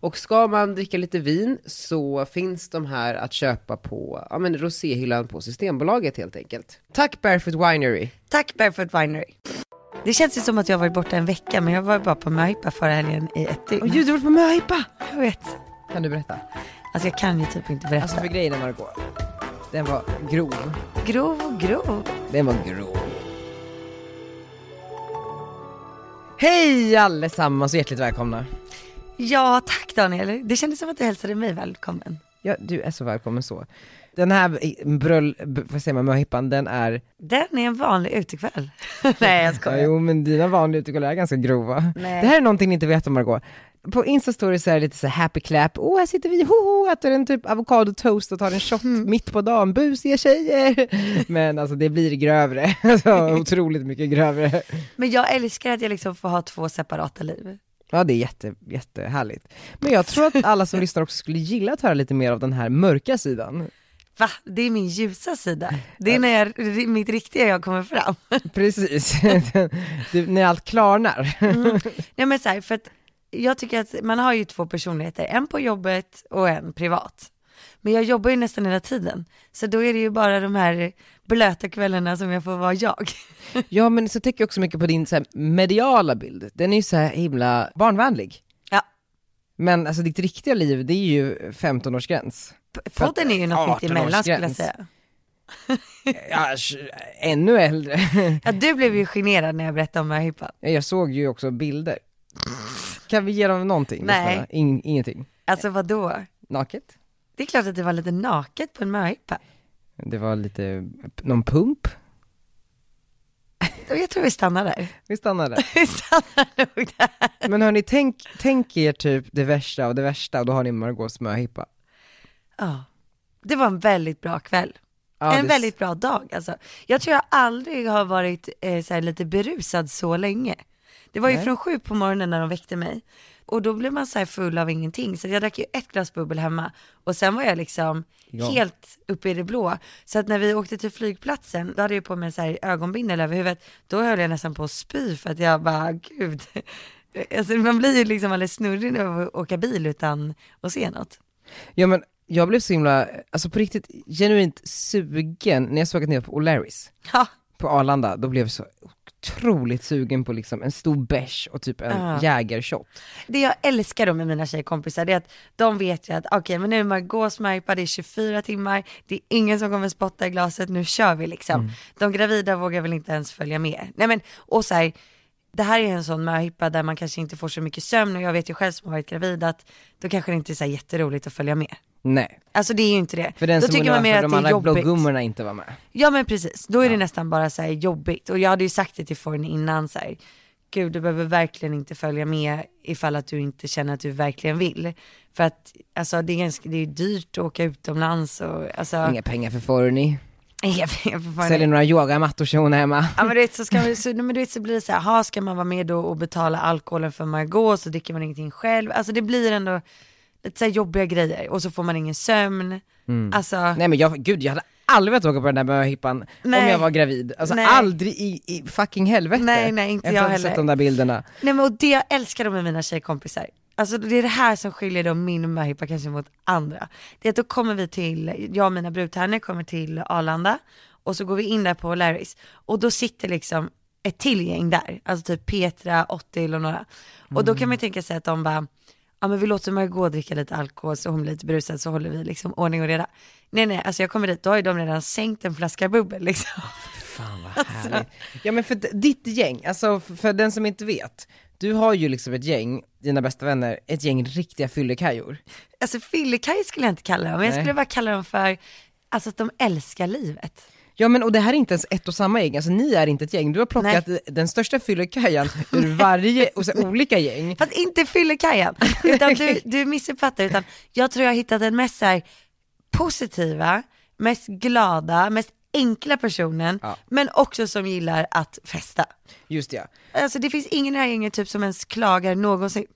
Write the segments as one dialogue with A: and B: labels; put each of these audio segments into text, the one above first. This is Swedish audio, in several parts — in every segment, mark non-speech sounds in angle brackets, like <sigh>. A: Och ska man dricka lite vin så finns de här att köpa på ja, men roséhyllan på Systembolaget helt enkelt. Tack Barefoot Winery!
B: Tack Barefoot Winery. Det känns ju som att jag har varit borta en vecka, men jag var ju bara på möhippa förra helgen i ett dygn.
A: du var på möhippa!
B: jag vet.
A: Kan du berätta?
B: Alltså jag kan ju typ inte berätta.
A: Alltså för grejen är Margot, den var grov.
B: grov, grov.
A: Den var grov. Hej allesammans och hjärtligt välkomna!
B: Ja, tack Daniel. Det kändes som att du hälsade mig välkommen.
A: Ja, du är så välkommen så. Den här eh, bröll, b- vad säger man, möhippan, den är...
B: Den är en vanlig utekväll. <laughs> Nej, jag
A: Ja,
B: skojar.
A: jo men dina vanliga utegollar är ganska grova.
B: Nej.
A: Det här är någonting ni inte vet om Margot. På Insta-stories är det lite så här happy clap, åh här sitter vi, hoho, äter en typ avokadotoast och tar en shot mitt på dagen, busiga <laughs> tjejer. Men alltså det blir grövre, <laughs> alltså, otroligt mycket grövre.
B: Men jag älskar att jag liksom får ha två separata liv.
A: Ja det är jätte, jättehärligt. Men jag tror att alla som lyssnar också skulle gilla att höra lite mer av den här mörka sidan.
B: Va? Det är min ljusa sida. Det är när jag, mitt riktiga jag kommer fram.
A: Precis, <laughs> det, när allt klarnar.
B: Nej men så här, för att jag tycker att man har ju två personligheter, en på jobbet och en privat. Men jag jobbar ju nästan hela tiden, så då är det ju bara de här blöta kvällarna som jag får vara jag.
A: Ja men så tänker jag också mycket på din så här, mediala bild, den är ju så här himla barnvänlig.
B: Ja,
A: Men alltså ditt riktiga liv, det är ju 15-årsgräns.
B: p- podden är ju något
A: 18
B: mitt emellan skulle jag
A: årsgräns.
B: säga.
A: Ja, sh- ännu äldre.
B: Ja, du blev ju generad när jag berättade om möhippan.
A: Jag såg ju också bilder. Kan vi ge dem någonting?
B: Nej.
A: lyssnarna? In, ingenting.
B: Alltså vadå?
A: Naket.
B: Det är klart att det var lite naket på en möhippa.
A: Det var lite, någon pump.
B: Jag tror vi stannar där. <laughs>
A: Vi stannar där.
B: Vi stannar nog där.
A: Men hörni, tänk, tänk er typ det värsta och det värsta och då har ni Margaux möhippa.
B: Ja, det var en väldigt bra kväll.
A: Ja,
B: en
A: det-
B: väldigt bra dag alltså. Jag tror jag aldrig har varit eh, så här lite berusad så länge. Det var ju från sju på morgonen när de väckte mig. Och då blev man så här full av ingenting. Så jag drack ju ett glas bubbel hemma. Och sen var jag liksom
A: Ja.
B: helt uppe i det blå. Så att när vi åkte till flygplatsen, då hade jag på mig en så här ögonbindel över huvudet. Då höll jag nästan på att spy för att jag bara, gud. <laughs> Alltså, man blir ju liksom alldeles snurrig nu av att åka bil utan att se något. <laughs>
A: Ja men jag blev så himla, alltså på riktigt genuint sugen när jag såg att ni var på O'Larrys.
B: Ja,
A: på Arlanda, då blev jag så otroligt sugen på liksom en stor bärs och typ en
B: Ja.
A: jägershot.
B: Det jag älskar då med mina tjejkompisar det är att de vet ju att okej men nu är Margaux smärpa, det är 24 timmar, det är ingen som kommer spotta i glaset, nu kör vi liksom.
A: Mm.
B: De gravida vågar väl inte ens följa med. Nej men, och så här, det här är en sån möhippa där man kanske inte får så mycket sömn och jag vet ju själv som har varit gravid att då kanske det inte är så här jätteroligt att följa med.
A: Nej,
B: Alltså det är ju inte det.
A: för den
B: då
A: som
B: tycker man
A: undrar
B: mer
A: varför
B: att
A: de
B: det är
A: andra
B: jobbigt.
A: blågummorna inte var med.
B: Ja men precis, då är det nästan bara så här jobbigt. Och jag hade ju sagt det till Forn innan så här, gud du behöver verkligen inte följa med ifall att du inte känner att du verkligen vill. För att alltså det är ganska, det är ju dyrt att åka utomlands och alltså,
A: Inga pengar för Forni.
B: <laughs> jag vet inte vad det är.
A: Säljer några yogamattor så hon är hemma.
B: Ja men du vet så, ska man, så, nej, men du vet, så blir det så här, ha ska man vara med då och betala alkoholen för Margot så dricker man ingenting själv. Alltså det blir ändå lite så här jobbiga grejer och så får man ingen sömn. Alltså,
A: Mm. Nej men jag, gud jag hade aldrig velat åka på den där möhippan om
B: Nej.
A: jag var gravid. Alltså
B: Nej.
A: aldrig i, i fucking helvete.
B: Nej, nej, inte
A: Efter
B: jag
A: att ha
B: heller.
A: sett de där bilderna.
B: Nej men och det jag älskar då med mina tjejkompisar, alltså det är det här som skiljer då min möhippa kanske mot andra. Det är att då kommer vi till, jag och mina brudtärnor kommer till Arlanda och så går vi in där på Larrys och då sitter liksom ett till gäng där, alltså typ Petra, Ottil och några. Och då kan man ju tänka sig att de bara, ja men vi låter Margot dricka lite alkohol så hon blir lite berusad så håller vi liksom ordning och reda. Nej nej, <laughs> alltså jag kommer dit, då har ju de redan sänkt en flaska bubbel liksom.
A: Fan vad härligt. Ja men för d- ditt gäng, alltså f- för den som inte vet, du har ju liksom ett gäng, dina bästa vänner, ett gäng riktiga fyllekajor.
B: Alltså fyllekaj skulle jag inte kalla dem, jag
A: Nej.
B: skulle bara kalla dem för Alltså att de älskar livet.
A: Ja men och det här är inte ens ett och samma gäng, alltså ni är inte ett gäng, du har plockat den största
B: <laughs>
A: fyllekajan ur varje, och så här, olika gäng.
B: Fast inte fyllekajan,
A: <laughs>
B: utan du, du missuppfattar. Utan jag tror jag har hittat den mest så här, positiva, mest glada, mest enkla personen,
A: Ja.
B: men också som gillar att festa.
A: Just det, ja.
B: Alltså det finns ingen i det här gänget typ som ens klagar någonsin.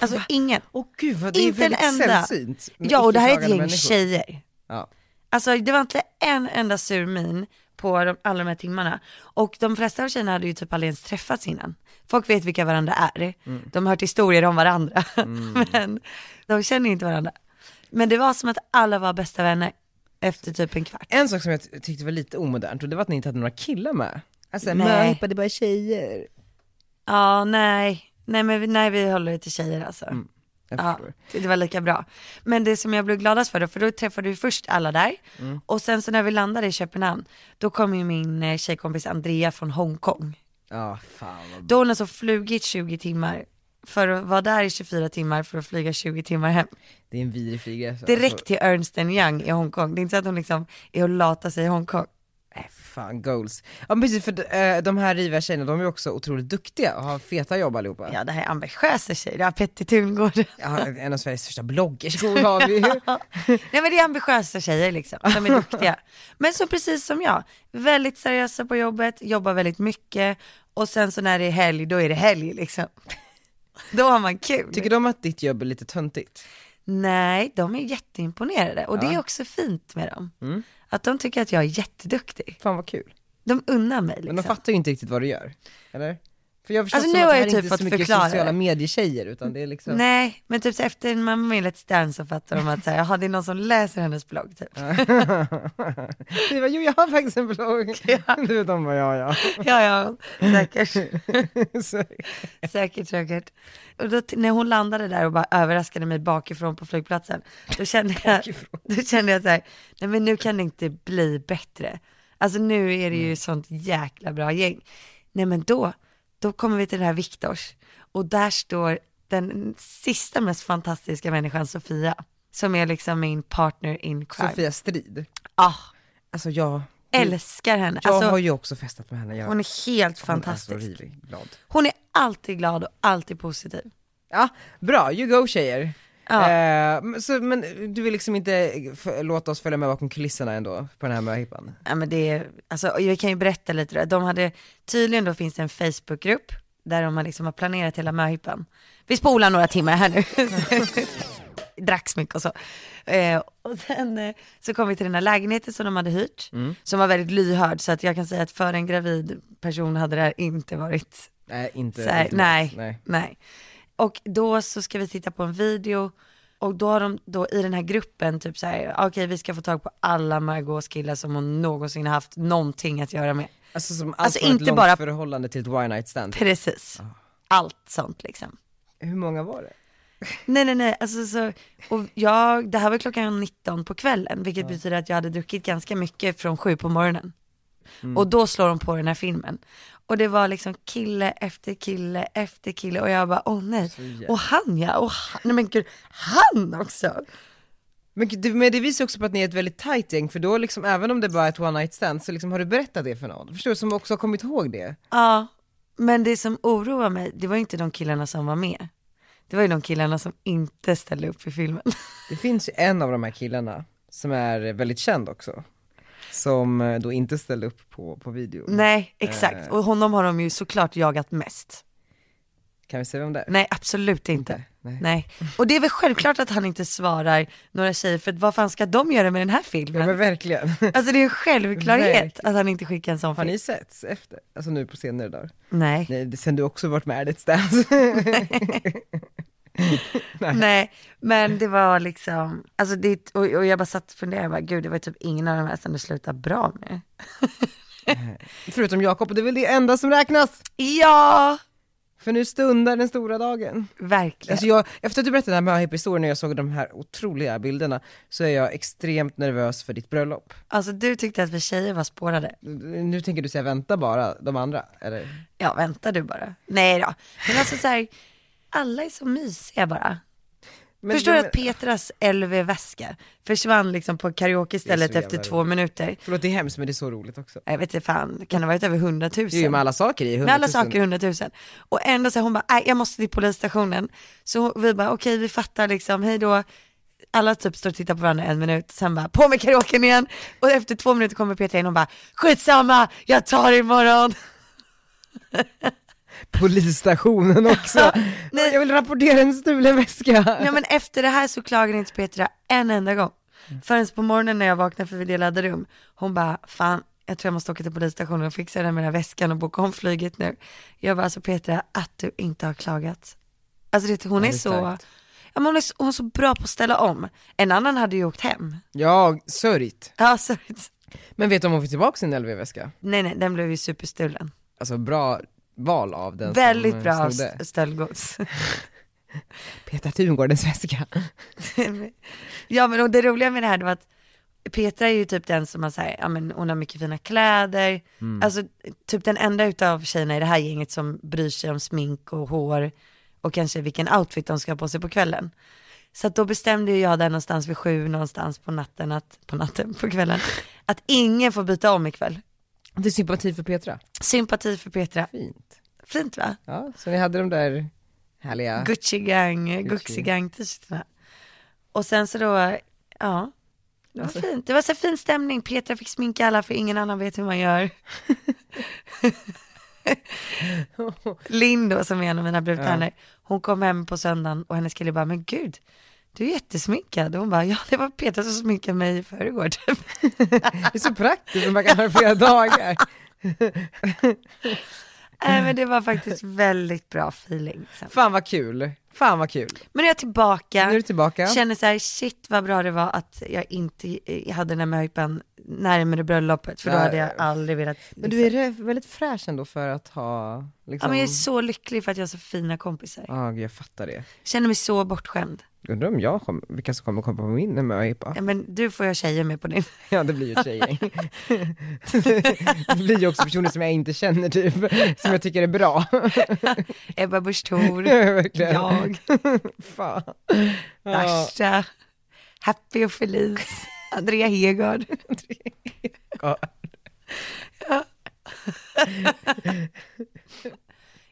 B: Alltså ingen.
A: Åh gud vad det
B: Inte
A: är
B: en
A: väldigt
B: enda.
A: sällsynt. med
B: Ja och det här är ett
A: icke-klagande människor.
B: gäng tjejer.
A: Ja.
B: Alltså det var inte en enda sur min på de, alla de här timmarna. Och de flesta av tjejerna hade ju typ aldrig ens träffats innan. Folk vet vilka varandra är. De har hört historier om varandra. <laughs> Men de känner ju inte varandra. Men det var som att alla var bästa vänner efter typ en kvart.
A: En sak som jag ty- tyckte var lite omodernt, och det var att ni inte hade några killar med. Alltså
B: Nej.
A: möhippa, det är bara tjejer.
B: Ja, nej. Nej, men vi, nej, vi håller det till tjejer alltså.
A: Jag
B: Ja,
A: förstår.
B: det det var lika bra. Men det som jag blev gladast för då, för då träffade vi först alla där. Och sen så när vi landade i Köpenhamn, då kom ju min eh, tjejkompis Andrea från Hongkong.
A: Ja, fan vad
B: Då har hon alltså flugit 20 timmar för att vara där i 24 timmar för att flyga 20 timmar hem.
A: Det är en vidrig flygresa.
B: Direkt till Ernst Young i Hongkong. Det är inte så att hon liksom är och latar sig i Hongkong.
A: Alltså, äh, fan, goals. Ja men precis, för eh, de här riviga tjejerna, de är ju också otroligt duktiga och har feta jobb allihopa.
B: Ja, det här är ambitiösa tjejer, det här Petter Tungård.
A: Ja, en av Sveriges största bloggerskor har vi <laughs> ju.
B: Nej men det är ambitiösa tjejer liksom, som är duktiga. Men så precis som jag, väldigt seriösa på jobbet, jobbar väldigt mycket och sen så när det är helg, då är det helg liksom. Då har man kul.
A: Tycker de att ditt jobb är lite töntigt?
B: Nej, de är jätteimponerade och det är också fint med dem. Att de tycker att jag är jätteduktig.
A: Fan vad kul.
B: De unnar mig liksom.
A: Men de fattar ju inte riktigt vad du gör, eller? För jag förstår
B: Alltså,
A: som
B: nu
A: att
B: har
A: det här
B: jag
A: är
B: typ
A: inte
B: fått
A: så mycket
B: förklara
A: sociala
B: det.
A: medietjejer utan det är liksom <laughs>
B: Nej, men typ så efter Mamma Mia Let's Dance så fattar de att så här, jaha, det är någon som läser hennes blogg typ.
A: Du bara, jo jag har faktiskt en
B: <laughs>
A: blogg. Du de bara, ja
B: Ja, ja, säkert.
A: ja. <laughs> Så,
B: Säkert, säkert. Och då, t- när hon landade där och bara överraskade mig bakifrån på flygplatsen, då kände jag, då kände jag så här, nej men nu kan det inte bli bättre. Alltså nu är det ju sånt jäkla bra gäng. Nej men då, då kommer vi till den här Viktors och där står den sista mest fantastiska människan, Sofia, som är liksom min partner in crime.
A: Sofia Strid.
B: Ah,
A: Alltså jag,
B: älskar henne.
A: jag har
B: Alltså,
A: ju också festat med henne. Jag,
B: hon är helt
A: Hon är så
B: fantastisk.
A: rivig, glad.
B: Hon är alltid glad och alltid positiv.
A: Ja, bra, you go tjejer.
B: Ja.
A: Eh, men så, men du vill liksom inte f- låta oss följa med bakom kulisserna ändå på den här möhippan?
B: Ja men det är, alltså jag kan ju berätta lite då. De hade, tydligen då finns det en Facebookgrupp där de har liksom har planerat hela möhippan. Vi spolar några timmar här nu. <laughs> Dracks mycket och så. Eh, och sen eh, så kom vi till den här lägenheten som de hade hyrt, som var väldigt lyhörd. Så att jag kan säga att för en gravid person hade det här inte varit
A: Nej, inte.
B: så här,
A: inte
B: nej,
A: något.
B: nej. Och då så ska vi titta på en video och då har de då i den här gruppen typ så här, okej vi ska få tag på alla Margaux killar som hon någonsin har haft någonting att göra med.
A: Alltså som allt
B: Alltså,
A: från ett
B: inte
A: långt
B: bara-
A: förhållande till ett one night stand.
B: Precis. Allt sånt liksom.
A: Hur många var det?
B: Nej nej nej, alltså så, och jag, det här var klockan 19 på kvällen vilket betyder att jag hade druckit ganska mycket från sju på morgonen. Och då slår de på den här filmen. Och det var liksom kille efter kille efter kille och jag bara åh nej. Och han ja, och han, nej men gud, han också.
A: Men, gud, det- men det visar också på att ni är ett väldigt tight gäng, för då liksom, även om det bara är ett one night stand, så liksom har du berättat det för någon? Förstår du? Som också har kommit ihåg det.
B: Ja, men det som oroar mig, det var ju inte de killarna som var med. Det var ju de killarna som inte ställde upp i filmen. <laughs>
A: Det finns ju en av de här killarna, som är väldigt känd också, som eh, då inte ställde upp på, på video.
B: Nej, exakt. Och honom har de ju såklart jagat mest.
A: Kan vi se vem det är?
B: Nej, absolut inte.
A: Nej.
B: Nej. Och det är väl självklart att han inte svarar några tjejer, för vad fan ska de göra med den här filmen?
A: Ja men verkligen.
B: <laughs> Alltså det är en självklarhet
A: Verkligen.
B: att han inte skickar en sån
A: Har
B: film.
A: ni setts efter? Alltså nu på senare dagar?
B: Nej.
A: Nej, det- sen du också varit med i Let's Dance. <laughs>
B: Nej, men det var liksom, alltså det, och, och jag bara satt och funderade, jag bara, gud det var typ ingen av de här som det slutade bra med.
A: Förutom Jakob, och det är väl det enda som räknas?
B: Ja,
A: För nu stundar den stora dagen.
B: Verkligen.
A: Alltså jag, efter att du berättade den här möhippa-historien och jag såg de här otroliga bilderna, så är jag extremt nervös för ditt bröllop.
B: Alltså du tyckte att vi tjejer var spårade.
A: Nu tänker du säga vänta bara, de andra, eller?
B: Ja, vänta du bara. Nej då. Men alltså så här, alla är så mysiga bara.
A: Men-
B: Förstår du
A: men-
B: att Petras LV-väska försvann liksom på karaokestället
A: Det är så
B: efter
A: jävla
B: två minuter?
A: Förlåt, det är hemskt men det är så roligt också.
B: Jag vet inte fan, kan det ha varit över 100 000?
A: Det är ju med alla saker i,
B: Med
A: 100
B: alla
A: 000.
B: saker 100 000. Och ändå så här, hon bara, nej jag måste till polisstationen. Så vi bara, okej vi fattar liksom, hej då. Alla typ står och tittar på varandra en minut, sen bara, på med karaoken igen. Och efter två minuter kommer Petra in och bara, skitsamma, jag tar det imorgon.
A: Polisstationen
B: <laughs>
A: också.
B: Nej.
A: Jag vill rapportera en stulen väska.
B: Nej men efter det här så klagade inte Petra en enda gång. Förrän på morgonen när jag vaknade för vi delade rum, hon bara, fan jag tror jag måste åka till polisstationen och fixa den med den här väskan och boka om flyget nu. Jag bara, alltså Petra, att du inte har klagat. Alltså det, hon, är
A: det är
B: så,
A: starkt.
B: ja, men hon är så, hon är så bra på att ställa om. En annan hade ju åkt hem.
A: Ja, sörjt.
B: Ja, så,
A: Men vet du om hon fick tillbaka sin LV-väska?
B: nej nej, den blev ju superstulen.
A: Alltså bra val av den som, eh,
B: Väldigt bra
A: snodde.
B: st- stöldgods.
A: Petra Tungårdens väska.
B: ja men och det roliga med det här det var att Petra är ju typ den som har så här, ja men hon har mycket fina kläder, alltså typ den enda utav tjejerna i det här gänget som bryr sig om smink och hår och kanske vilken outfit de ska ha på sig på kvällen. Så att då bestämde ju jag där någonstans vid sju någonstans på natten, att, på natten, på kvällen, att ingen får byta om ikväll.
A: Det är sympati för Petra.
B: Sympati för Petra,
A: Fint.
B: fint va?
A: Ja, så ni hade de där härliga...
B: Gucci gang, Gucci gang t-shirtarna. Och sen så då, ja. Det var
A: Alltså.
B: fint. Det var så fin stämning. Petra fick sminka alla för ingen annan vet hur man gör.
A: <laughs>
B: Linn då som är en av mina brudvänner, hon kom hem på söndagen och hennes kille bara, men gud, du är jättesminkad. Och hon bara, ja det var Petra som sminkade mig i förrgår <laughs> typ.
A: Det är så praktiskt att man kan ha det flera
B: <laughs>
A: dagar.
B: Nej men det
A: <laughs>
B: var faktiskt väldigt bra feeling. Sen.
A: Fan vad kul. Fan vad kul.
B: Men nu är jag tillbaka.
A: Nu är du tillbaka.
B: Känner så här, shit vad bra det var att jag inte eh, hade den här möhippan närmare bröllopet, för då
A: Ja,
B: hade jag
A: ja.
B: aldrig velat.
A: Men du är re- väldigt fräsch ändå för att ha
B: Ja
A: liksom...
B: men jag är så lycklig för att jag har så fina kompisar.
A: Ja, gud, jag fattar det.
B: Känner mig så bortskämd.
A: Undrar om jag kommer, vilka som kommer komma på min möhippa?
B: Ja, men du får jag tjejer med på din. <laughs>
A: <laughs> Ja det blir ju ett tjejgäng. det blir ju också personer som jag inte känner typ, som jag tycker är bra.
B: Ebba
A: <laughs>
B: Busch Thor,
A: Verkligen.
B: jag,
A: Fan.
B: Dasha, Happy och Felice, Andrea Hegaard.
A: Ja.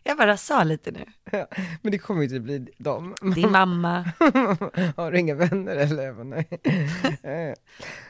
B: Jag bara sa lite nu.
A: Men det kommer ju inte bli dem. <laughs>
B: Din mamma.
A: Har du inga vänner eller? Jag bara, Nej. Eh,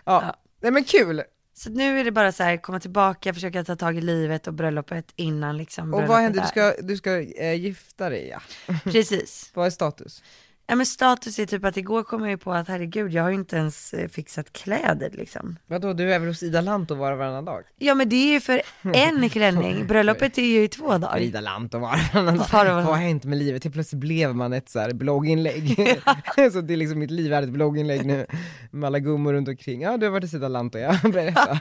A: ja. Nej men kul.
B: Så nu är det bara så här, komma tillbaka, försöka ta tag i livet och bröllopet innan liksom
A: Och vad
B: bröllopet
A: händer, du
B: är.
A: ska, du ska eh, gifta dig ja.
B: Precis.
A: Vad är status?
B: Ja men status är typ att igår kom jag ju på att herregud jag har ju inte ens eh, fixat kläder liksom.
A: Vadå, du är väl hos Ida Lantto var och varannan dag?
B: Ja men det är ju för
A: <laughs>
B: en klänning, bröllopet är ju i två dagar.
A: Ida Lantto <laughs> var och varannan dag.
B: Var och
A: Vad
B: varannan.
A: har hänt med livet? Helt plötsligt blev man ett så här blogginlägg.
B: <laughs>
A: <laughs> så det är liksom, mitt liv är ett blogginlägg nu. Med alla gummor runt omkring. Ja, du har varit hos Ida Lantto ja, <laughs>
B: <laughs>
A: berätta.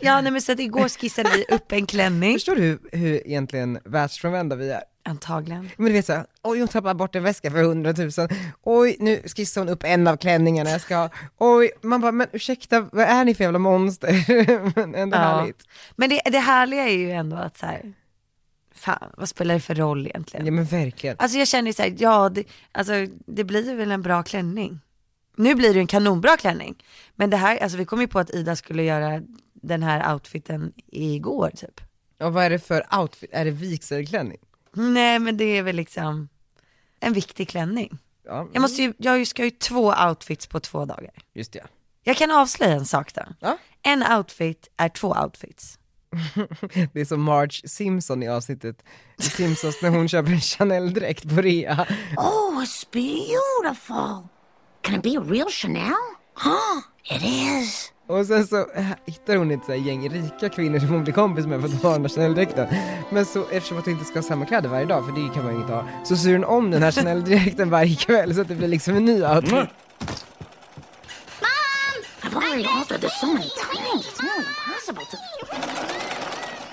B: Ja nej men så att igår skissade vi upp
A: <laughs>
B: en klänning.
A: Förstår du hur, hur egentligen världsfrånvända vi är?
B: Antagligen.
A: Men du vet såhär, oj hon tappar bort en väska för hundratusen, oj nu skissar hon upp en av klänningarna jag ska ha, oj, man bara men ursäkta vad är ni för jävla monster? <laughs> men ändå
B: Ja.
A: härligt.
B: Men det, det härliga är ju ändå att så här, fan vad spelar det för roll egentligen?
A: Ja men verkligen.
B: Alltså jag känner ju så här, ja det, alltså, det blir väl en bra klänning. Nu blir det ju en kanonbra klänning. Men det här, alltså vi kom ju på att Ida skulle göra den här outfiten igår typ.
A: Och vad är det för outfit, är det vigselklänning?
B: Nej men det är väl liksom en viktig klänning.
A: Ja,
B: Jag, måste ju, jag ska ju två outfits på två dagar.
A: just det ja.
B: Jag kan avslöja en sak då.
A: Ja.
B: En outfit är två outfits.
A: Det är som Marge Simpson i avsnittet i Simpsons när hon köper en Chanel-dräkt på rea.
C: Oh, it's beautiful. Can it be a real Chanel? Huh, it is.
A: Och sen så äh, hittar hon ett så här gäng rika kvinnor som hon blir kompis med för att de har den här Chanel-dräkten. Men så, eftersom att hon inte ska ha samma kläder varje dag, för det kan man ju inte ha, så syr hon om den här Chanel-dräkten varje kväll så att det blir liksom en ny
B: Mm.
A: outfit.
C: I've already altered this so many times. It's nearly impossible to.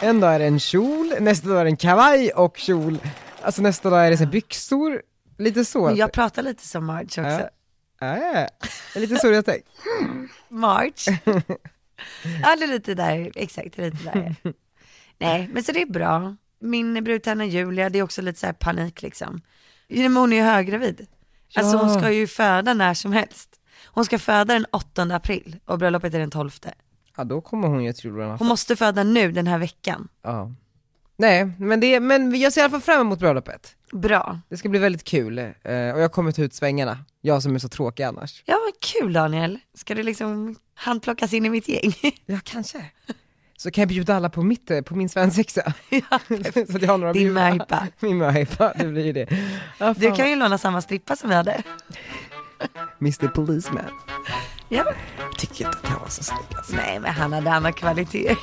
A: En dag är det en kjol, nästa dag är det en kavaj och kjol. Alltså nästa dag är det så här byxor, lite så.
B: Men jag pratar lite som March också.
A: Ja. Ja, ja, ja. Det är Äh, lite så jag tänkt.
B: March.
A: <laughs>
B: ja, det är lite där, exakt, det är lite där. Nej, men så det är bra. Min brudtärna Julia, det är också lite så här panik liksom. Men hon är ju höggravid. Alltså
A: Ja.
B: hon ska ju föda när som helst. Hon ska föda den 8 april och bröllopet är den 12.
A: Ja, då kommer hon ju tro att
B: Hon måste föda nu den här veckan.
A: ja. Nej, men, det, men jag ser i alla fall fram emot bröllopet.
B: Bra.
A: Det ska bli väldigt kul, eh, och jag kommer ta ut svängarna. Jag som är så tråkig annars.
B: Ja, vad kul Daniel. Ska du liksom handplockas in i mitt gäng?
A: Ja, kanske. Så kan jag bjuda alla på, mitt, eh, på min <laughs> svensexa.
B: ja.
A: så att jag har några att
B: Din
A: bjuda.
B: möhippa.
A: <laughs> Min möhippa, det blir ju det. Ja,
B: Du
A: fan.
B: kan ju låna samma strippa som vi hade.
A: Mr Policeman.
B: Ja.
A: Tycker inte att han var så snygg alltså.
B: Nej, men han hade andra kvaliteter.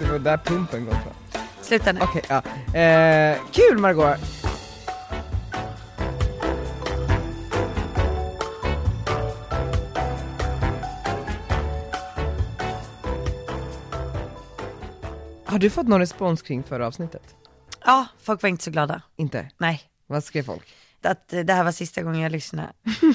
A: Det var där pumpen kom från.
B: Sluta nu.
A: Okej, ja. Eh, kul Margot Har du fått någon respons kring förra avsnittet?
B: Ja, folk var inte så glada.
A: Inte?
B: Nej,
A: Vad skrev folk? <laughs>
B: att eh, det här var sista gången jag lyssnade.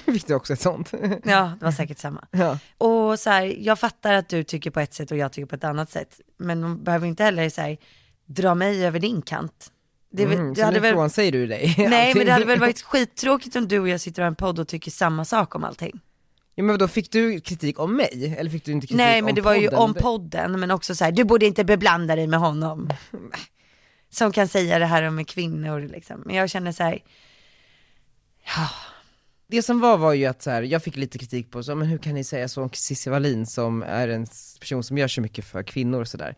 A: Fick du också ett sånt?
B: Ja, det var säkert samma.
A: ja.
B: Och så här, jag fattar att du tycker på ett sätt och jag tycker på ett annat sätt. Men man behöver inte heller så här, dra mig över din kant. Det, är väl-
A: Mm,
B: det
A: så
B: hade
A: nu
B: väl,
A: frånsäger du dig <laughs>
B: nej, men
A: allting.
B: det hade väl varit skittråkigt om du och jag sitter och har en podd och tycker samma sak om allting.
A: Ja, men då fick du kritik om mig? Eller fick du inte kritik
B: Nej
A: om
B: men det var ju
A: podden?
B: om podden, men också så här, du borde inte beblanda dig
A: <laughs>
B: med honom. Som kan säga det här om kvinnor liksom. Men jag känner så här,
A: Det som var var ju att så här, jag fick lite kritik på så, men hur kan ni säga så om Cissi Wallin som är en s- person som gör så mycket för kvinnor och sådär.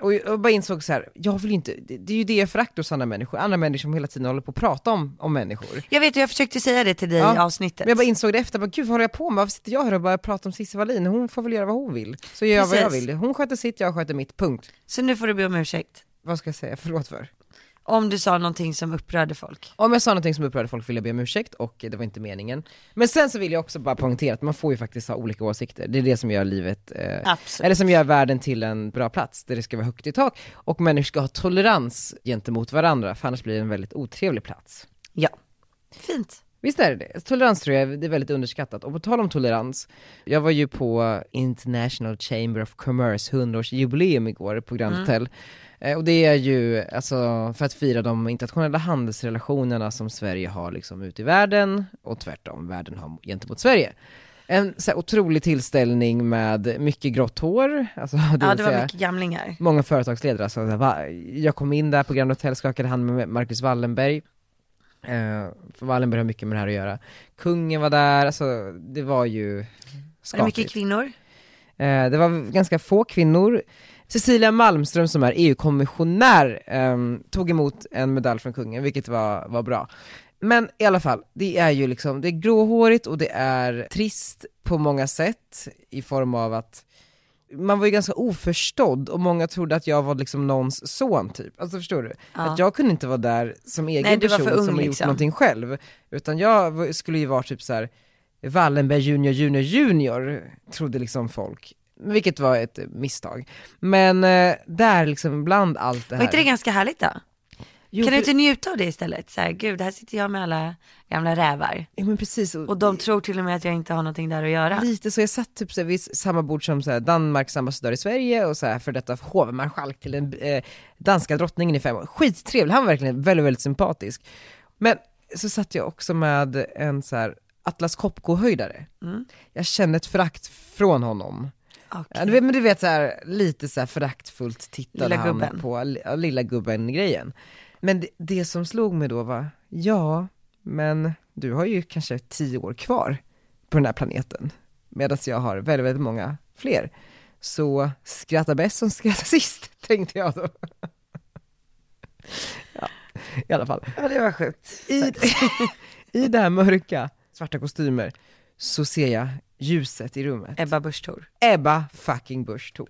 A: Och jag bara insåg så här, jag vill inte, det, det är ju det jag föraktar hos andra människor, andra människor som hela tiden håller på att prata om, om människor.
B: jag vet och jag försökte säga det till dig i
A: Ja,
B: avsnittet.
A: Men jag bara insåg det efter, bara, gud vad håller jag på med? Varför sitter jag här och bara pratar om Cissi Wallin? Hon får väl göra vad hon vill. Så gör jag vad jag
B: Precis.
A: vill. Hon sköter sitt, jag sköter mitt, punkt.
B: Så nu får du be om ursäkt.
A: Vad ska jag säga, förlåt för?
B: Om du sa någonting som upprörde folk.
A: Om jag sa någonting som upprörde folk vill jag be om ursäkt och det var inte meningen. Men sen så vill jag också bara poängtera att man får ju faktiskt ha olika åsikter. Det är det som gör livet, eh,
B: Absolut.
A: eller som gör världen till en bra plats där det ska vara högt i tak och människor ska ha tolerans gentemot varandra för annars blir det en väldigt otrevlig plats.
B: Ja. Fint.
A: Visst är det det? Tolerans tror jag det är väldigt underskattat. Och på tal om tolerans, jag var ju på International Chamber of Commerce 100-årsjubileum igår på Grand
B: Mm.
A: Hotel. Eh, Och det är ju alltså, för att fira de internationella handelsrelationerna som Sverige har liksom ut i världen och tvärtom världen har gentemot Sverige. En så här otrolig tillställning med mycket grått hår, alltså, <laughs> det
B: Ja
A: vill
B: det var
A: säga-
B: mycket gamlingar.
A: många företagsledare. alltså, Så här, va? Jag kom in där på Grand Hotel, skakade hand med Marcus Wallenberg. Eh, för Wallenberg har mycket med det här att göra. Kungen var där, alltså det var ju
B: Var det
A: skapligt.
B: mycket kvinnor?
A: Eh, Det var ganska få kvinnor. Cecilia Malmström som är EU-kommissionär ehm, tog emot en medalj från kungen, vilket var, var bra. Men i alla fall, det är ju liksom, det är gråhårigt och det är trist på många sätt i form av att man var ju ganska oförstådd och många trodde att jag var liksom någons son typ. Alltså förstår du? Att jag kunde inte vara där som egen
B: Nej, du var
A: person
B: för ung,
A: som har gjort
B: liksom.
A: någonting själv. Utan jag var- skulle ju vara typ så här Wallenberg junior, junior, junior, trodde liksom folk. Vilket var ett misstag. Men eh, där liksom bland allt det här.
B: Var inte det ganska härligt då?
A: Jo,
B: kan du
A: för-
B: inte njuta av det istället? Så här, gud här sitter jag med alla gamla rävar.
A: Ja men precis. Och,
B: Och de tror till och med att jag inte har någonting där att göra.
A: Lite så, jag satt typ så här vid samma bord som så här Danmarks ambassadör i Sverige och så här för detta hovmarskalk till den eh, danska drottningen i fem år. Skittrevlig, han var verkligen väldigt, väldigt sympatisk. Men så satt jag också med en så här Atlas Copco-höjdare.
B: Mm.
A: Jag kände ett förakt från honom. Ja,
B: Okej.
A: du vet- men du vet så här, lite så här föraktfullt tittade
B: Lilla
A: han
B: gubben.
A: på li- ja, lilla gubben-grejen. Men det, det som slog mig då var, ja, men du har ju kanske tio år kvar på den här planeten, medan jag har väldigt, väldigt många fler. Så skratta bäst som skrattar sist, <laughs> tänkte jag då. ja, i alla fall.
B: Ja det var sjukt.
A: I, <laughs> I det här mörka, svarta kostymer, så ser jag ljuset i rummet.
B: Ebba Busch Thor.
A: Ebba fucking Busch Thor.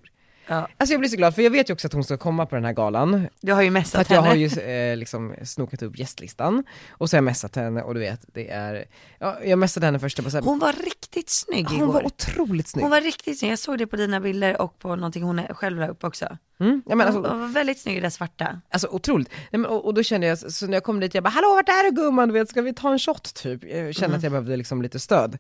B: Ja.
A: Alltså jag blir så glad, för jag vet ju också att hon ska komma på den här galan.
B: Du har ju
A: För
B: messat
A: att jag
B: henne.
A: har ju eh, liksom snokat upp gästlistan, och så har jag messat henne och du vet, det är, ja, jag messade henne först och bara så här,
B: Hon var riktigt riktigt snygg igår.
A: Hon var otroligt snygg.
B: Hon var riktigt snygg, jag såg det på dina bilder och på någonting hon själv la upp också.
A: Mm. Ja, men
B: Hon
A: alltså,
B: hon var väldigt snygg i det svarta.
A: <laughs> alltså otroligt. Nej, men, och, och då kände jag, så när jag kom dit, jag bara hallå vart är du gumman, du vet, ska vi ta en shot typ? Jag kände att jag behövde liksom lite stöd.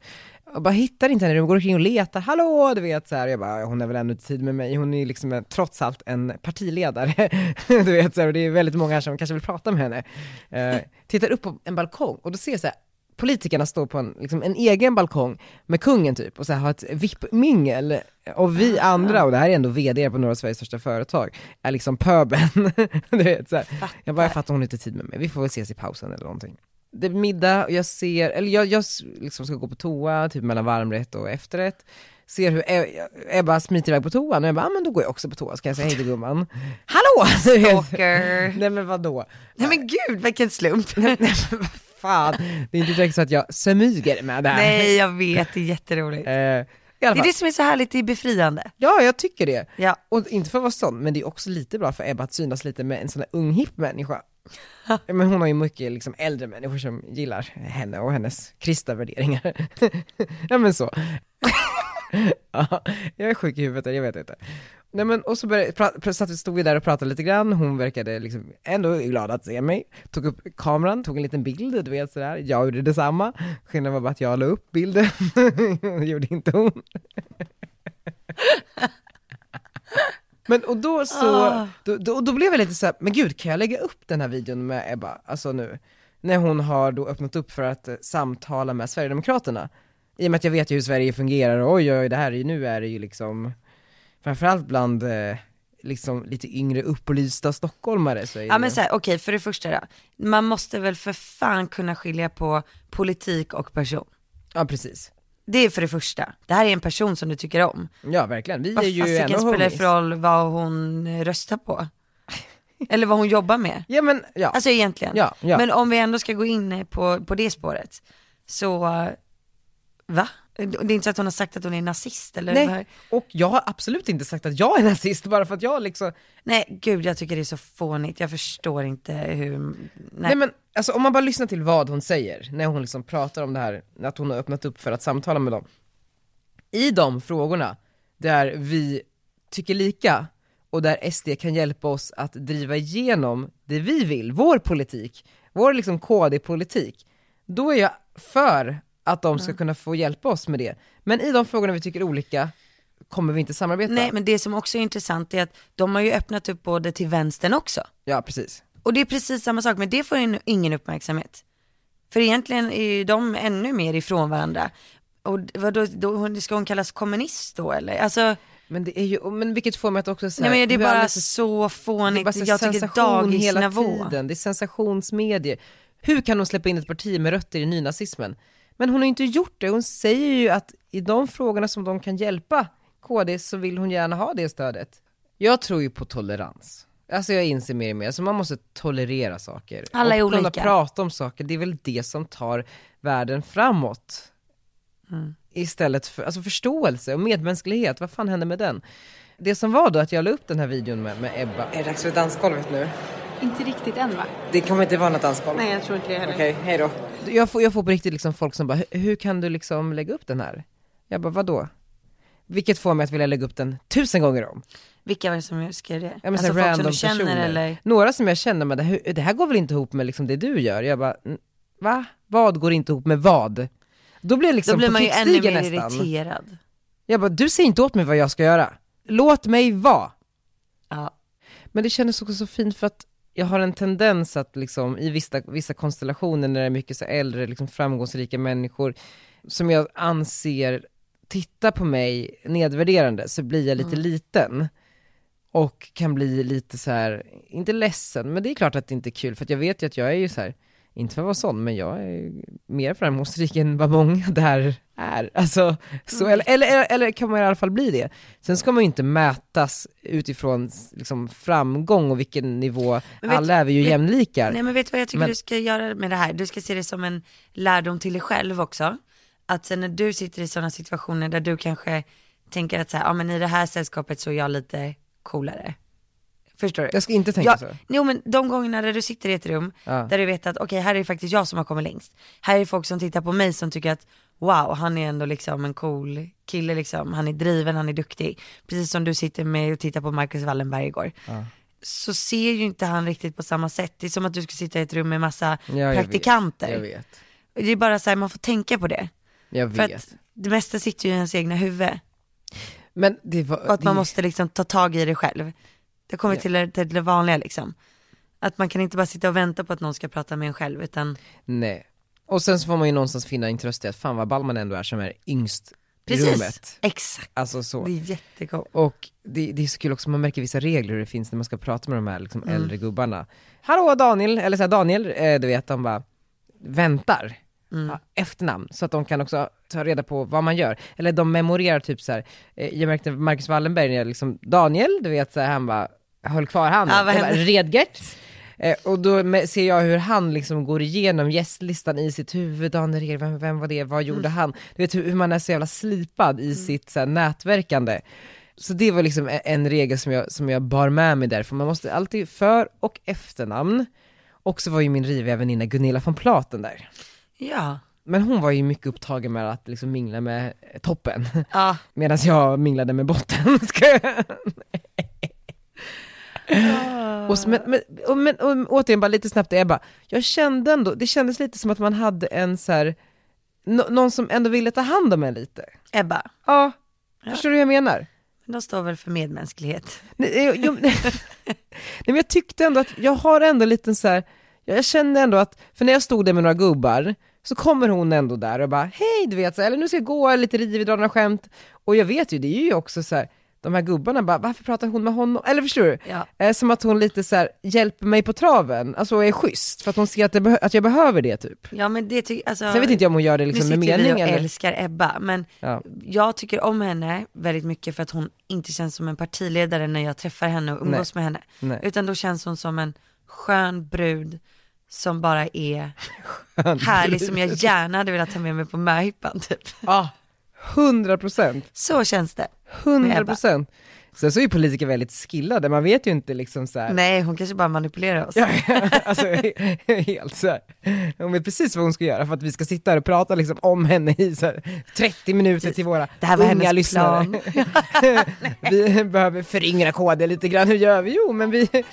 A: Jag bara hittar inte henne, hon går omkring och letar, hallå, du vet så här. Jag bara, hon är väl ännu inte tid med mig, hon är ju liksom eh, trots allt en partiledare. <laughs> du vet så här, och det är väldigt många här som kanske vill prata med henne. Eh, tittar upp på en balkong och då ser jag så här, politikerna står på en, liksom, en egen balkong med kungen typ och så här, har ett VIP-mingel och vi andra, och det här är ändå vd på några av Sveriges största företag, är liksom pöben. <laughs> du vet, så här. Jag bara, jag fattar hon har inte tid med mig, vi får väl ses i pausen eller någonting. Det är middag och jag ser, eller jag, jag s- liksom ska gå på toa, typ mellan varmrätt och efterrätt. Ser hur E- Ebba smiter iväg på toan och jag bara, ah, men då går jag också på toa, ska jag säga hej till gumman? <laughs> Hallå! Du vet.
B: Stalker.
A: Nej men vadå?
B: Nej men gud vilken slump.
A: Fan, det är inte direkt så att jag smyger med det här.
B: <laughs> Nej jag vet, det är jätteroligt.
A: Eh, i alla
B: Det är
A: fall.
B: det som är så härligt, det är befriande.
A: Ja, jag tycker det.
B: Ja.
A: Och inte för att vara sån, men det är också lite bra för Ebba att synas lite med en sån där ung hipp människa. Men hon har ju mycket liksom äldre människor som gillar henne och hennes kristna värderingar. <laughs> ja men så. <laughs> ja, jag är sjuk i huvudet, jag vet inte. Nej men och så började, pra, pra, satt vi, stod vi där och pratade lite grann, hon verkade liksom ändå glad att se mig. Tog upp kameran, tog en liten bild, du vet sådär. Jag gjorde detsamma. Skillnaden var bara att jag la upp bilden, <laughs> det gjorde inte hon. Men och då så,
B: Ah.
A: då, då, då blev jag lite såhär, men gud kan jag lägga upp den här videon med Ebba, alltså nu? När hon har då öppnat upp för att eh, samtala med Sverigedemokraterna. I och med att jag vet ju hur Sverige fungerar, och oj oj det här är ju, nu är det ju liksom, framförallt bland eh, liksom lite yngre upplysta stockholmare så är
B: Ja men
A: det,
B: så här, okej för det första då, man måste väl för fan kunna skilja på politik och person.
A: ja precis.
B: Det är för det första, det här är en person som du tycker om.
A: Ja verkligen, vi är
B: Vad
A: ju ändå
B: fasiken spelar det
A: homies.
B: för roll vad hon eh, röstar på? Eller vad hon jobbar med?
A: Ja men, ja.
B: Alltså egentligen.
A: Ja, ja.
B: Men om vi ändå ska gå in på, på det spåret, så eh, va? Det är inte så att hon har sagt att hon är nazist eller? vad?
A: Nej, och jag har absolut inte sagt att jag är nazist bara för att jag liksom,
B: Nej gud jag tycker det är så fånigt, jag förstår inte hur, nej.
A: Nej men alltså om man bara lyssnar till vad hon säger när hon liksom pratar om det här, att hon har öppnat upp för att samtala med dem. I de frågorna där vi tycker lika och där SD kan hjälpa oss att driva igenom det vi vill, vår politik, vår liksom KD-politik, då är jag för att de
B: Mm.
A: ska kunna få hjälpa oss med det. Men i de frågorna vi tycker olika kommer vi inte samarbeta.
B: Nej men det som också är intressant är att de har ju öppnat upp både till vänstern också.
A: Ja, precis.
B: Och det är precis samma sak, men det får ju ingen uppmärksamhet. För egentligen är ju de ännu mer ifrån varandra. Och vadå, då, hon- ska hon kallas kommunist då eller? Alltså,
A: Men det är ju, men vilket får mig att också säga
B: nej men det är
A: hur alla
B: bara
A: så-
B: så fånigt,
A: så
B: jag tycker
A: sensation hela
B: dagisnivå.
A: tiden, det är sensationsmedier. Hur kan hon släppa in ett parti med rötter i nynazismen? Men hon har ju inte gjort det, hon säger ju att i de frågorna som de kan hjälpa KD så vill hon gärna ha det stödet. Jag tror ju på tolerans. Alltså jag inser mer och mer, så man måste tolerera saker.
B: Alla är
A: och kunna
B: olika.
A: prata om saker, det är väl det som tar världen framåt
B: Mm.
A: istället för, alltså förståelse och medmänsklighet, vad fan hände med den? Det som var då att jag la upp den här videon med, med Ebba. Är det dags för dansgolvet nu?
D: Inte riktigt än va?
A: Det kommer inte vara något dansgolv.
D: Nej jag tror inte det heller.
A: Okej, hej då. Jag får, jag får på riktigt liksom folk som bara, "Hur- hur kan du liksom lägga upp den här? Jag bara, vadå? Vilket får mig att vilja lägga upp den tusen gånger om.
B: Vilka var det som skrev det?
A: Ja, men
B: alltså
A: så
B: folk
A: här
B: som
A: random
B: du känner
A: personer.
B: eller?
A: Några som jag känner, men det här, det här går väl inte ihop med liksom det du gör? Jag bara, "N- va? Vad går inte ihop med vad? Då blir jag liksom
B: Då blir
A: på
B: man ju ännu mer
A: krigsstigen nästan.
B: irriterad.
A: Jag bara, du säger inte åt mig vad jag ska göra. Låt mig vara.
B: Ja.
A: Men det kändes också så fint för att jag har en tendens att liksom i vissa, vissa konstellationer när det är mycket så äldre, liksom framgångsrika människor som jag anser tittar på mig nedvärderande så blir jag lite
B: Mm.
A: liten och kan bli lite så här, inte ledsen, men det är klart att det inte är kul för att jag vet ju att jag är ju så här, inte för att vara sån, men jag är ju mer framgångsrik än vad många <laughs> där är. Alltså, så,
B: Mm.
A: eller, eller, eller, eller kan man i alla fall bli det. Sen ska man ju inte mätas utifrån s- liksom, framgång och vilken nivå,
B: Men vet-
A: alla är vi ju
B: vet-
A: jämlikar.
B: Nej men vet du vad jag tycker
A: Men-
B: du ska göra med det här? Du ska se det som en lärdom till dig själv också. Att sen när du sitter i sådana situationer där du kanske tänker att så här, ja men i det här sällskapet så är jag lite coolare. Förstår du?
A: Jag ska inte tänka
B: Ja,
A: så.
B: Jo men de gångerna där du sitter i ett rum
A: Ja.
B: där du vet att okej här är det faktiskt jag som har kommit längst. Här är folk som tittar på mig som tycker att wow, han är ändå liksom en cool kille liksom. Han är driven, han är duktig. Precis som du sitter med och tittar på Marcus Wallenberg igår. Så ser ju inte han riktigt på samma sätt. Det är som att du ska sitta i ett rum med massa
A: Ja, jag
B: praktikanter.
A: Vet, jag vet.
B: Det är bara så här, man får tänka på det.
A: Jag
B: För
A: vet.
B: att det mesta sitter ju i ens egna huvud.
A: Men det var...
B: Och att man
A: det-
B: måste liksom ta tag i det själv. Det kommer till, det- till det vanliga liksom. Att man kan inte bara sitta och vänta på att någon ska prata med en själv utan
A: Nej. Och sen så får man ju någonstans finna en tröst i att fan vad ball man ändå är som är yngst i
B: precis,
A: rummet.
B: exakt.
A: Alltså så.
B: Det är jättekul.
A: Och det, det är så kul också, man märker vissa regler hur det finns när man ska prata med de här liksom,
B: Mm.
A: äldre gubbarna. Hallå Daniel, eller så här, Daniel, eh, du vet, de bara väntar.
B: Mm.
A: Ja, efternamn, så att de kan också ta reda på vad man gör. Eller de memorerar typ så här. Eh, jag märkte Marcus Wallenberg, när jag liksom, Daniel, du vet så här, han bara höll kvar handen.
B: Ja, vad
A: Jag bara,
B: hände?
A: Redgert. Eh, och då me- ser jag hur han liksom går igenom gästlistan i sitt huvud, Daniel Redgert, vem, vem var det, vad gjorde han? Du vet hur, hur man är så jävla slipad i sitt så här, nätverkande. Så det var liksom e- en regel som jag, som jag bar med mig där, för man måste alltid för och efternamn. Och så var ju min riviga väninna Gunilla von Platen där.
B: Ja.
A: Men hon var ju mycket upptagen med att liksom mingla med toppen, <laughs>
B: Ja,
A: medan jag minglade med botten. <laughs> Ska jag- och, så- men, men, och, men och, återigen bara lite snabbt, jag bara, jag kände ändå, det kändes lite som att man hade en så här, nå- någon som ändå ville ta hand om en lite.
B: Ebba,
A: Ja, förstår du hur jag menar?
B: de står väl för medmänsklighet.
A: Nej, jag,
B: <laughs>
A: jag, nej, men jag tyckte ändå att jag har ändå en liten så här. jag jag kände ändå att, för när jag stod där med några gubbar, så kommer hon ändå där och bara hej du vet, så här, eller nu ska jag gå, lite rivig, dra några skämt. Och jag vet ju, det är ju också så här, de här gubbarna bara, varför pratar hon med honom? Eller förstår du?
B: Ja.
A: Eh, som att hon lite så här, hjälper mig på traven, alltså och är schysst, för att hon ser att, det behö- att jag behöver det typ.
B: Ja men det tycker, alltså.
A: Sen vet inte jag om hon gör det
B: Nu
A: liksom
B: sitter
A: med mening
B: vi och
A: eller...
B: älskar Ebba, men
A: Ja.
B: jag tycker om henne väldigt mycket för att hon inte känns som en partiledare när jag träffar henne och umgås med henne.
A: Nej.
B: Utan då känns hon som en skön brud som bara
A: <laughs>
B: är härlig som jag gärna hade velat ta med mig på möhippan typ.
A: Ja, 100 procent.
B: Så känns det. Med
A: 100
B: Ebba.
A: procent. Sen så är ju politiker väldigt skillade, man vet ju inte liksom så här.
B: Nej, hon kanske bara manipulerar oss.
A: <laughs> alltså helt så här. Hon vet precis vad hon ska göra för att vi ska sitta här och prata liksom om henne i så här 30 minuter till våra
B: Det här var
A: unga
B: hennes
A: lyssnare.
B: plan.
A: <laughs> vi behöver föryngra KD lite grann, hur gör vi? Jo men vi <laughs>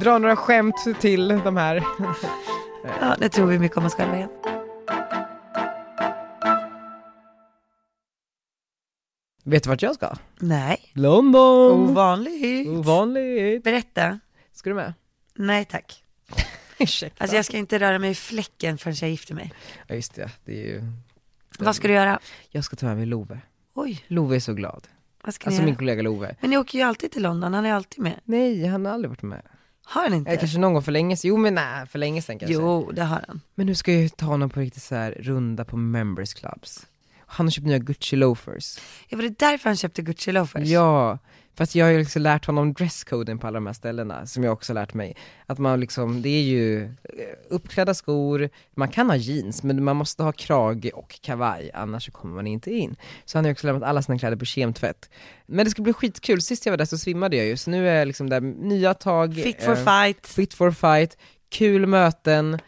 A: drar några skämt till de här.
B: Ja, nu tror vi mycket om oss själva igen.
A: Vet du vart jag ska?
B: Nej,
A: London!
B: ovanligt.
A: Ovanligt.
B: Berätta.
A: Ska du med?
B: Nej tack.
A: Ursäkta.
B: Alltså jag ska inte röra mig i fläcken förrän jag gifter mig.
A: Ja just det, det är ju...
B: Vad ska du göra?
A: Jag ska ta med mig Love.
B: Oj,
A: Love är så glad.
B: vad ska
A: Alltså
B: ni
A: min
B: göra?
A: kollega Love.
B: Men ni åker ju alltid till London, han är alltid med.
A: Nej, han har aldrig varit med.
B: Har han inte?
A: Eller kanske någon gång för länge sedan. Jo men nej, för länge sedan kanske.
B: Jo, det har han.
A: Men nu ska jag ju ta honom på riktigt så här runda på members clubs. Han har köpt nya Gucci loafers.
B: Ja, var det därför han köpte Gucci loafers?
A: Ja, för att jag har ju liksom lärt honom dresscoden på alla de här ställena, som jag också har lärt mig. Att man liksom, det är ju eh, uppklädda skor, man kan ha jeans, men man måste ha krage och kavaj, annars så kommer man inte in. Så han har ju också lämnat alla sina kläder på kemtvätt. Men det ska bli skitkul, sist jag var där så svimmade jag ju, så nu är jag liksom där, nya tag.
B: Fit for
A: eh,
B: fight.
A: Fit for fight, kul möten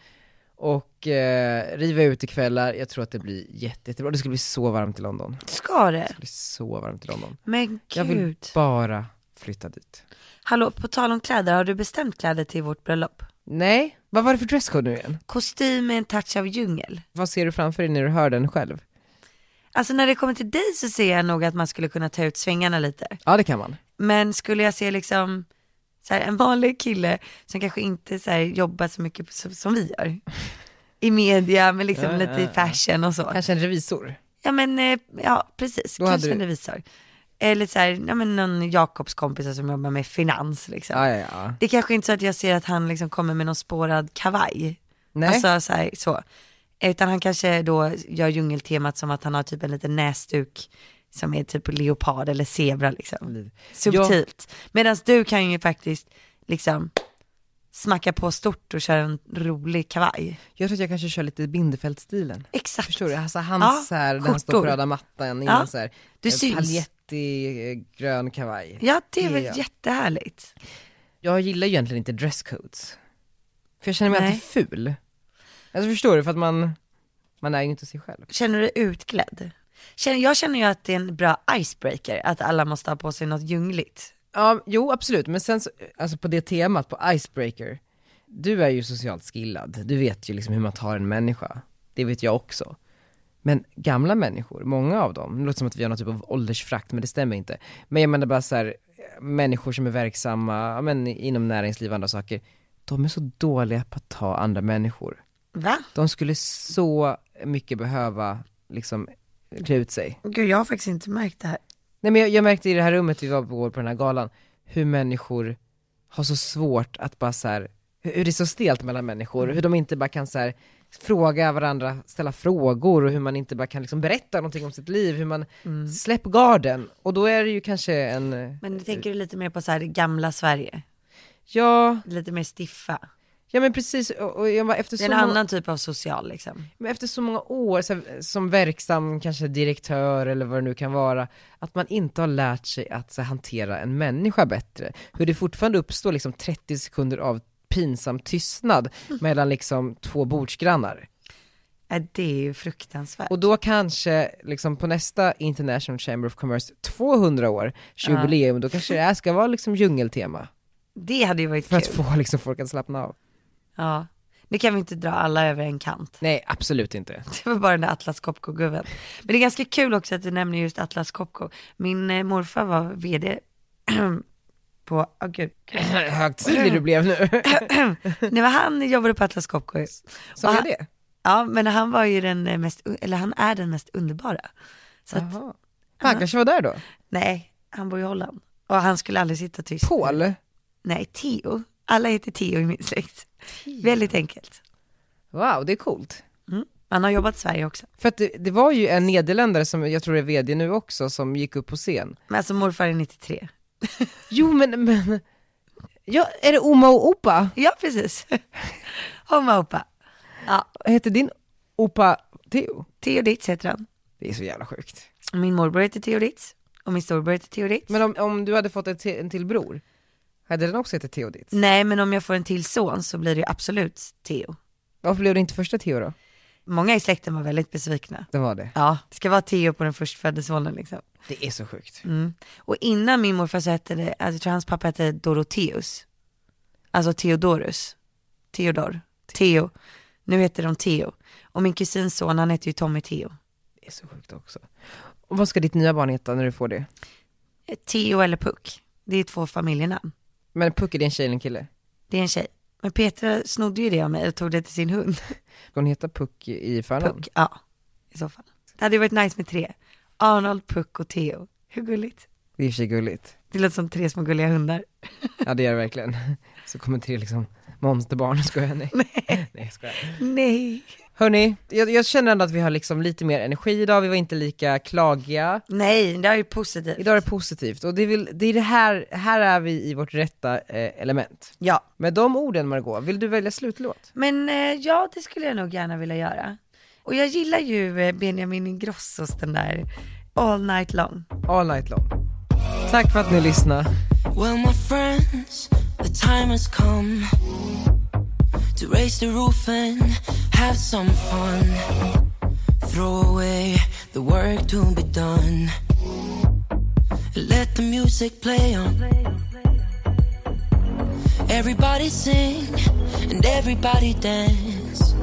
A: och eh, riva ut ikvällar. Jag tror att det blir jätte, jättebra. Det ska bli så varmt i London. Det
B: Ska det?
A: ska bli så varmt i London.
B: Men
A: Jag vill
B: gud.
A: bara flytta dit.
B: Hallå, på tal om kläder, har du bestämt kläder till vårt bröllop?
A: Nej, vad var det för dresscode nu igen?
B: Kostym med en touch av djungel.
A: Vad ser du framför dig när du hör den själv?
B: Alltså när det kommer till dig så ser jag nog att man skulle kunna ta ut svängarna lite.
A: Ja det kan man.
B: Men skulle jag se liksom så här, en vanlig kille som kanske inte så här, jobbar så mycket som, som vi gör. I media, men liksom
A: Ja,
B: lite
A: ja,
B: i fashion och så.
A: Kanske en revisor.
B: Ja men, eh, ja precis,
A: Då
B: kanske
A: hade
B: en
A: du-
B: revisor. Eller så här, ja, men någon Jakobs kompis som jobbar med finans liksom.
A: Ja, ja, ja.
B: Det kanske inte är så att jag ser att han liksom kommer med någon spårad kavaj.
A: Nej.
B: Alltså så, här, så. Utan han kanske då gör djungeltemat som att han har typ en liten näsduk som är typ leopard eller zebra
A: Mm.
B: liksom. Subtilt. Medan du kan ju faktiskt liksom smacka på stort och köra en rolig kavaj.
A: Jag tror att jag kanske kör lite Bindefeld-stilen.
B: Exakt.
A: Förstår du? Alltså hans
B: Ja,
A: så här, den han står på
B: skjortor.
A: röda mattan innan
B: Ja,
A: så här, eh,
B: du syns.
A: paljettig eh, grön kavaj.
B: Ja det är väl
A: Det är jag.
B: jättehärligt.
A: jag gillar ju egentligen inte dresscodes. För jag känner mig
B: Nej.
A: alltid ful. Alltså förstår du? För att man, Man är ju inte sig själv.
B: Känner du dig utklädd? Känner, jag känner ju att det är en bra icebreaker, att alla måste ha på sig något ljungligt.
A: Ja, jo absolut, men sen så, alltså på det temat, på icebreaker, du är ju socialt skillad, du vet ju liksom hur man tar en människa, det vet jag också. Men gamla människor, många av dem, det låter som att vi har någon typ av åldersfrakt men det stämmer inte. Men jag menar bara så här, människor som är verksamma, ja, men inom näringsliv och andra saker, de är så dåliga på att ta andra människor.
B: Va?
A: De skulle så mycket behöva liksom klä ut sig.
B: Gud, jag har faktiskt inte märkt det här.
A: Nej men jag, jag märkte i det här rummet vi var på, på den här galan, hur människor har så svårt att bara så här, hur, hur det är så stelt mellan människor,
B: Mm.
A: hur de inte bara kan så här, fråga varandra, ställa frågor och hur man inte bara kan liksom berätta någonting om sitt liv, hur man,
B: Mm.
A: släpp garden. Och då är det ju kanske en, eh,
B: Men du tänker du lite mer på så här det gamla Sverige,
A: ja,
B: lite mer stiffa.
A: ja men precis, och, och jag bara, efter
B: Det
A: så
B: är en
A: många-
B: annan typ av social liksom.
A: Men efter så många år så här, som verksam, kanske direktör eller vad det nu kan vara, att man inte har lärt sig att så, här, hantera en människa bättre. Hur det fortfarande uppstår liksom 30 sekunder av pinsam tystnad
B: Mm.
A: mellan liksom två bordsgrannar.
B: Äh, det är ju fruktansvärt.
A: Och då kanske liksom på nästa International Chamber of Commerce 200 år, jubileum, då kanske det här ska vara liksom djungeltema.
B: det hade ju varit
A: För
B: kul.
A: att få liksom folk att slappna av.
B: Ja. Nu kan vi inte dra alla över en kant. <laughs>
A: Nej, absolut inte.
B: Det var bara den där Atlas Copco-gubben. Men det är ganska kul också att du nämner just Atlas Copco. Min eh, morfar var vd <clears throat> på, åh <laughs> gud.
A: Högtidlig
B: Mm.
A: du blev nu.
B: <laughs> Nej men han jobbade på Atlas Copco.
A: Sa jag
B: Och han-
A: det?
B: Ja men han var ju den eh, mest, eller han är den mest underbara. Så att,
A: Jaha. Han kanske var där då?
B: nej, han bor i Holland. Och han skulle aldrig sitta tyst.
A: Paul?
B: Nej, Tio. Alla heter Tio i min släkt. Väldigt enkelt.
A: Wow, det är coolt.
B: Mm. Han har jobbat i Sverige också.
A: För att det, det var ju en nederländare som, jag tror är vd nu också, som gick upp på scen.
B: Men alltså morfar är 93.
A: Jo men, men, ja, är det Oma och Opa?
B: Ja,
A: <laughs>
B: precis. Homma Opa. Ja,
A: Heter din Opa Theo?
B: Theo Ditz heter han.
A: Det är så jävla sjukt.
B: Min morbror heter Theo Ditz och min storbror heter Theo Ditz.
A: Men om, om du hade fått ett, te- en till bror, hade den också hetat Theo ditt?
B: Nej, men om jag får en till son så blir det ju absolut Theo.
A: Varför blev det inte första Theo då?
B: Många i släkten var väldigt besvikna.
A: Det var det.
B: Ja, det ska vara Theo på den förstfödde sonen liksom.
A: Det är så sjukt.
B: Mm. Och innan min morfar så hette det, alltså, jag tror hans pappa hette Doroteus. Alltså Theodorus. Theodor. Theo. Nu heter de Theo. Och min kusins son, han heter ju Tommy Theo.
A: Det är så sjukt också. Och vad ska ditt nya barn heta när du får det?
B: Eh, Theo eller Puck. Det är två familjenamn.
A: Men Puck, är det en tjej eller en kille?
B: Det är en tjej. Men Petra snodde ju det av mig och tog det till sin hund.
A: Ska hon heta Puck i förnamn?
B: Puck, ja. I så fall. Det hade ju varit nice med tre. Arnold, Puck och Theo. Hur gulligt?
A: Det är i och för sig gulligt.
B: Det låter som tre små gulliga hundar.
A: Ja det gör det verkligen. Så kommer tre liksom monsterbarn, skojar jag? Nej. Nej, jag skojar.
B: Nej.
A: Hörni, jag, jag känner ändå att vi har liksom lite mer energi idag, vi var inte lika klagiga.
B: Nej, det är ju positivt.
A: Idag är det positivt och det är, väl, det, är det här, här är vi i vårt rätta eh, element.
B: Ja.
A: Med de orden Margot, vill du välja slutlåt?
B: Men eh, ja, det skulle jag nog gärna vilja göra. Och jag gillar ju eh, Benjamin Ingrossos den där All Night Long.
A: All night long. Tack för att ni lyssnade.
E: Well, my friends, the time has come to raise the roof and have some fun. Throw away the work to be done. and Let the music play on. Everybody sing and everybody dance.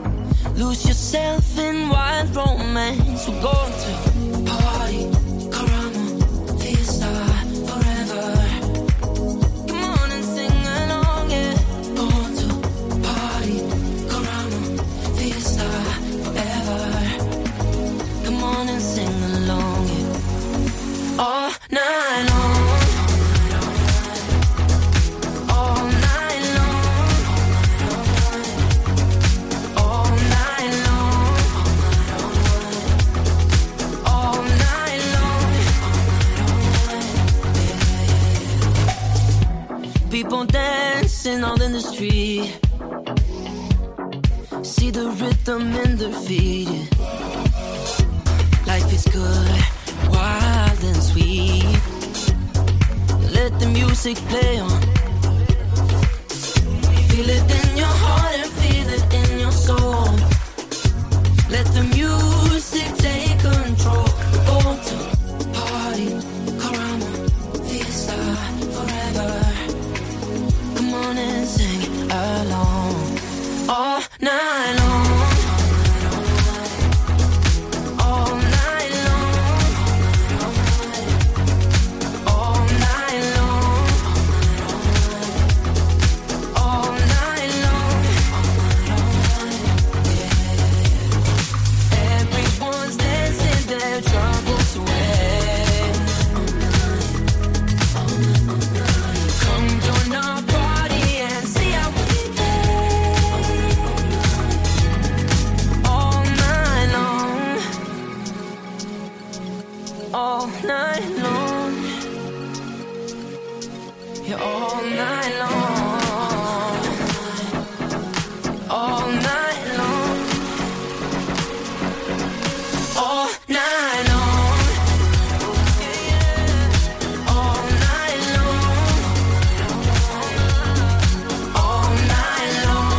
E: Lose yourself in wild romance. We're going to party, karama, fiesta, forever. Come on and sing along, yeah. Go on to party, caramba, fiesta, forever. Come on and sing along, yeah. All night long. All night long. All night long. All night long. People dancing out in the street. See the rhythm in their feet. Life is good, wild and sweet. Let the music play on. Feel it in your heart and feel it in your soul. Let the music you all night long. All night long. All night long. All night long. All night long. All night long.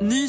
F: Ny